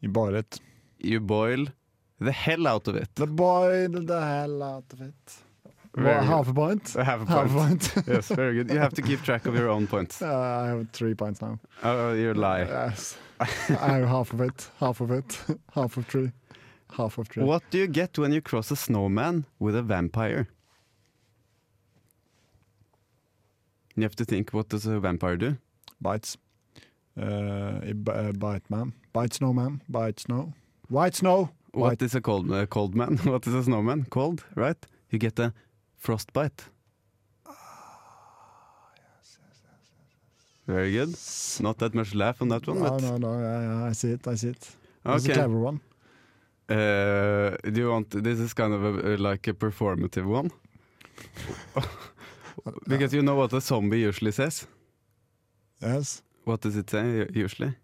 You bought it. You boil the hell out of it. The boy did the hell out of it. Very Well, half a point. I have a Half a point. point. yes, very good. You have to keep track of your own points. Uh, I have three points now. Oh, you lie. Yes. I have half of it. Half of it. Half of three. Half of three. What do you get when you cross a snowman with a vampire? You have to think. What does a vampire do? Bites. Uh, it b- uh, bite, man. Bite snow, man. Bite snow. White snow. What is a cold, uh, cold man? What is a snowman? Cold, right? You get a frostbite. Very good. Not that much laugh on that one, No, but no, no. I, I see it. I see it. That's a okay. clever one. Uh, do you want this is kind of a, uh, like a performative one? because you know what a zombie usually says. Yes. What does it say u- usually?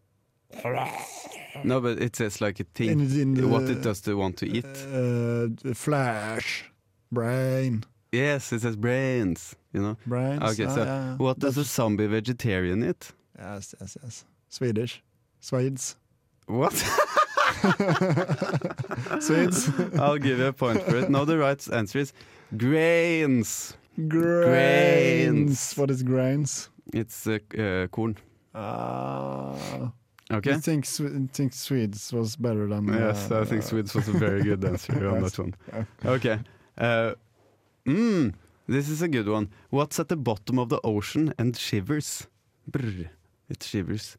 No, but it says like a In, thing. in the, What it does they want to eat. Uh, the flash. Uh, Brain. Yes, it says brains. You know. Brains. ah, Okay, ja, so ja, ja. what does a zombie vegetarian eat? Yes, yes, yes. Swedish. Swedes. What? Swedes. I'll give you a point for it. No, the right answer is grains. Grains. What is grains? It's uh, uh, corn. Uh, Ah. Okay. You think, Swe- think Swedes was better than uh, Yes, I think Swedes was a very good answer on that one. Okay. Uh, mm, this is a good one. What's at the bottom of the ocean and shivers? Brr, it shivers.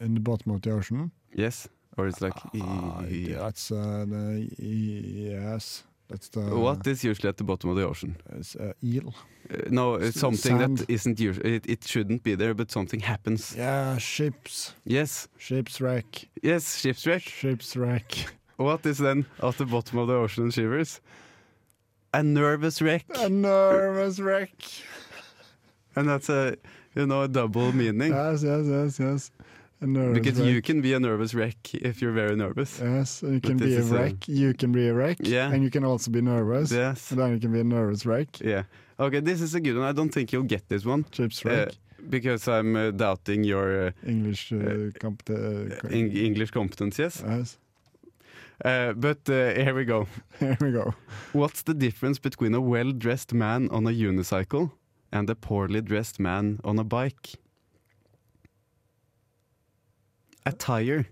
in the bottom of the ocean. Yes, or it's like. e-, Ah, that's uh, the, yes. That's the What is usually at the bottom of the ocean? It's uh, eel. Uh, no, it's something sand. that isn't usual. It, it shouldn't be there, but something happens. Yeah, ships. Yes, Ships wreck. yes, ship's wreck. Ships wreck. What is then at the bottom of the ocean and shivers? A nervous wreck, A nervous wreck. and that's a you know a double meaning. Yes, yes, yes, yes. A nervous Because wreck. you can be a nervous wreck if you're very nervous. Yes, and you can this be a is a- wreck. You can be a wreck. Yeah. And you can also be nervous. Yes. And then you can be a nervous wreck. Yeah. Okay, this is a good one. I don't think you'll get this one. Ships uh, wreck. because I'm uh, doubting your uh, English uh, compet- uh, co- Eng- English competencies. yes. Uh, but uh, here we go. Here we go. What's the difference between a well dressed man on a unicycle and a poorly dressed man on a bike? Attire.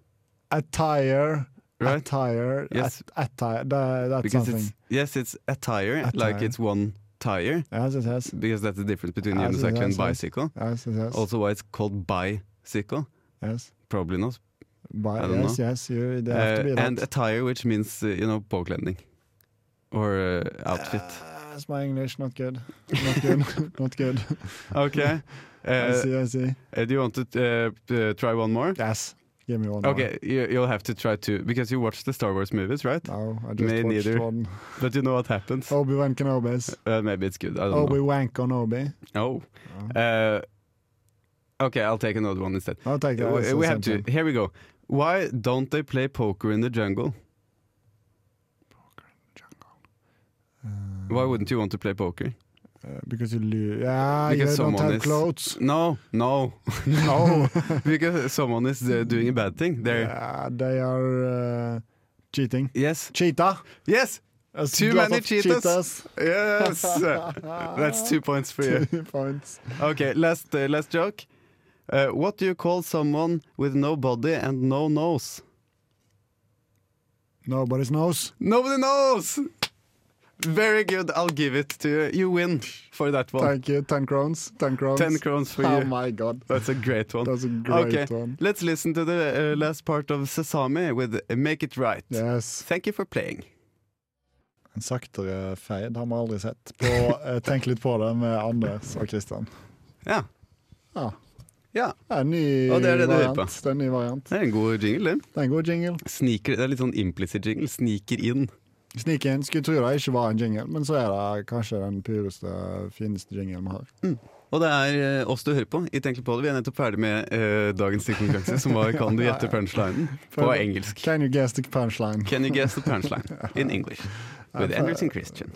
Attire. Right. Attire. Yes. At- attire. Tha- that's Because it's something. yes, it's attire, like Attire. it's one tire. Yes, yes, yes. Because that's the difference between Yes, unicycle yes, and yes. bicycle. Yes, yes, yes. Also why it's called bicycle. yes. Probably not. By, I don't yes, yes. You, they have to be Uh, that. and attire, which means uh, you know påkledning or uh, outfit. Ah, it's my English not good. Not good. not good. Okay. Ah. I Uh, see, I see. uh, do you want to uh, p- uh, try one more? Yes. Give me one more. Okay, you, you'll have to try two because you watched the Star Wars movies, right? No, Oh. I just Me watched neither. one. But you know what happens. Obi-Wan Kenobi's. Uh, maybe it's good. I don't Obi Wank on Obi. know. Oh. Uh, okay, I'll take another one instead. I'll take that. we It's we the have same to. thing. Here we go. Why don't they play poker in the jungle? Why wouldn't you want to play poker? Uh, because you lo- yeah, Because you don't someone have is- clothes. No, no, no. because someone is uh, doing a bad thing. They're Yeah, they are uh, cheating. yes, Cheetah. yes, A Too lot many of cheetahs. cheetahs. yes. That's two points for you. Two points. Okay, last uh, last joke. Uh, what do you call someone with no body and no nose? Nobody's nose. Nobody knows. Very good. I'll give it to you. You win for that one. Thank you. Ten crowns. Ten crowns. Ten crowns for oh you. my god. That's a great one. That's a great okay, one. let's listen to the uh, last part of Sesame with uh, Make It Right. Yes. Thank you for playing. En saktere feid har vi aldri sett. På, eh, tenk litt på det med Anders og Kristian. Ja. Ja. ja. Ja, en ny Og det er det du hører variant. på. Det er en ny variant. Det er en god jingle, det. Det er en god jingle. Sniker, det er litt sånn implicit jingle. Sniker inn. Sneak in. Skulle tro det ikke var en jingle, men så er det kanskje den pureste, fineste jinglen vi har. Og det er eh, oss du hører på. I Tenk litt på det. Vi er nettopp ferdig med eh, dagens konkurranse, som var Kan du gjette punchlinen? På For- engelsk. Can you guess the punchline? Can you guess the punchline in English? With Anders and Christian.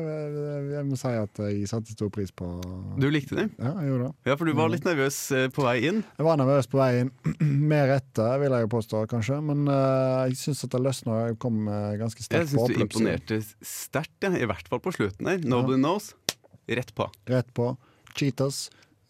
Jeg må si at jeg satte stor pris på Du likte det? Ja, jeg gjorde det. Ja, for du var litt nervøs eh, på vei inn. Mm. Jeg var nervøs på veien. Med rette, vil jeg jo påstå, kanskje. Men eh, jeg syns at det løsna. Jeg kom eh, ganske Jeg sterkt på syns du oppløpssiden. imponerte sterkt, ja. i hvert fall på slutten der. Nobody knows. Rett på. Rett på. Cheaters.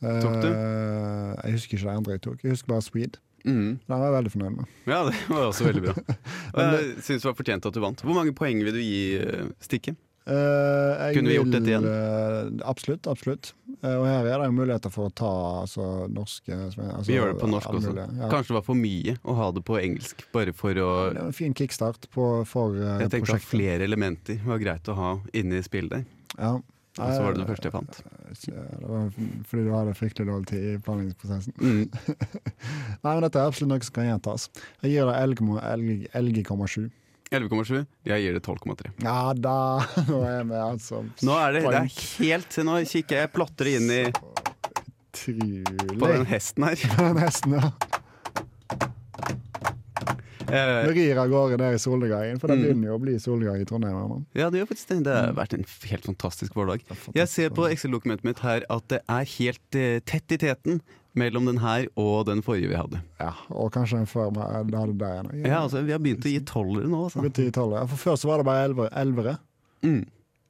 Eh, Tok du? jeg husker ikke det andre jeg tok. Jeg husker bare Swede. Mhm. Den var jeg veldig fornøyd med. Ja, det var også veldig bra. Og jeg syns det var fortjent at du vant. Hvor mange poeng vil du gi eh, Stikke? Eh, jeg Kunne vi gjort vil, dette igjen? eh, absolutt, absolutt. Eh, og her er det jo muligheter for å ta altså, norske altså, Vi gjør det på norsk alle også. mulige, ja. Kanskje det var for mye å ha det på engelsk, bare for å Det var en fin kickstart på, for eh, Jeg tenkte at prosjektet. flere elementer var greit å ha inne i spillet der. Ja. Og så var det det første jeg fant. Eh, Det var fordi du hadde fryktelig dårlig tid i planleggingsprosessen. Mm. Nei, men dette er absolutt noe som kan gjentas. Jeg gir det 11,7. 11,7. 11,7. Jeg gir det 12,3. Ja da! Nå er vi altså Nå er det, det er helt Nå kikker jeg plotter inn i, utrolig på den hesten her. på den hesten, ja. Eh, Vi rir av gårde ned i solnedgangen, Mm. for det begynner jo å bli solnedgang i Trondheim. her nå. Ja, det gjør faktisk det. Det har vært en f- helt Mm. fantastisk vårdag. Jeg ser på Excel-dokumentet mitt her at det er helt eh, tett i teten mellom den her og den forrige vi hadde. Ja, og kanskje en før vi hadde det der igjen. Ja, altså, Vi har begynt å gi tolvere nå, altså. Det betyr tolvere. Ja, for før så var det bare elvere, elvere Mm.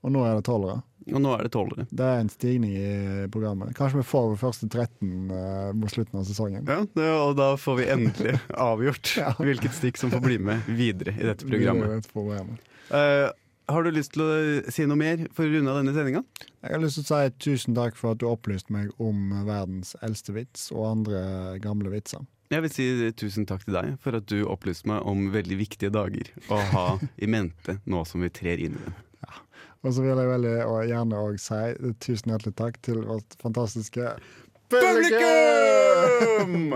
og nå er det tolvere. Og nå er det tolvere. Det er en stigning i programmet. Kanskje vi får vår første 13 eh, mot slutten av sesongen. Ja, det, Og da får vi endelig avgjort hvilket stikk som får bli med videre i dette Vi programmet. gjør et program. Eh, har du lyst til å si noe mer for å runde av denne sendinga? Jeg har lyst til å si tusen takk for at du opplyste meg om eh, verdens eldste vits og andre gamle vitser. Jeg vil si tusen takk til deg for at du opplyste meg om veldig viktige dager å ha i mente nå som vi trer inn i dem. Og så vil jeg veldig og gjerne òg si eh, tusen hjertelig takk til vårt fantastiske Publikum!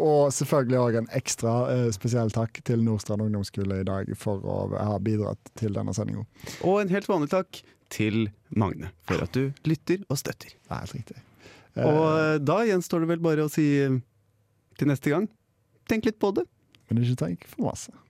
Og selvfølgelig òg en ekstra eh, spesiell takk til Nordstrand ungdomsskole i dag for å ha bidratt til denne sendinga. Og en helt vanlig takk til Magne for at du lytter og støtter. Det er helt riktig. Og eh, da gjenstår det vel bare å si eh, til neste gang tenk litt på det. Men ikke tenk for masse.